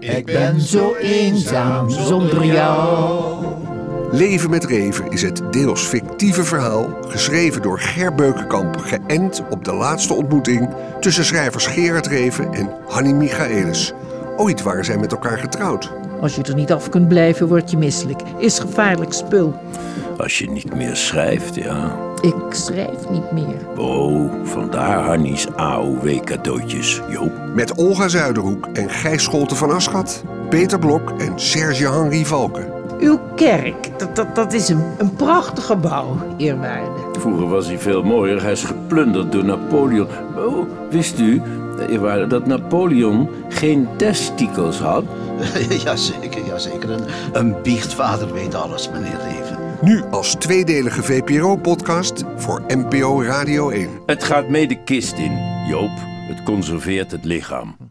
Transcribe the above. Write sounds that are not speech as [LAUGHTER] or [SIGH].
Ik ben zo eenzaam [LAUGHS] zonder jou. Leven met Reven is het deels fictieve verhaal, geschreven door Ger Beukenkamp, geënt op de laatste ontmoeting tussen schrijvers Gerard Reven en Hanni Michaelis. Ooit waren zij met elkaar getrouwd. Als je er niet af kunt blijven, word je misselijk. Is gevaarlijk spul. Als je niet meer schrijft, ja. Ik schrijf niet meer. Oh, vandaar Hannies AOW-cadeautjes, joh. Met Olga Zuiderhoek en Gijs Scholte van Aschat, Peter Blok en Serge-Henri Valken. Uw kerk, dat, dat, dat is een, een prachtig gebouw, eerwaarde. Vroeger was hij veel mooier. Hij is geplunderd door Napoleon. Oh, wist u eh, eerwaarde, dat Napoleon geen testikels had? jazeker, jazeker. Een, een biechtvader weet alles, meneer Reven. Nu als tweedelige VPRO-podcast voor NPO Radio 1. Het gaat mee de kist in, Joop. Het conserveert het lichaam.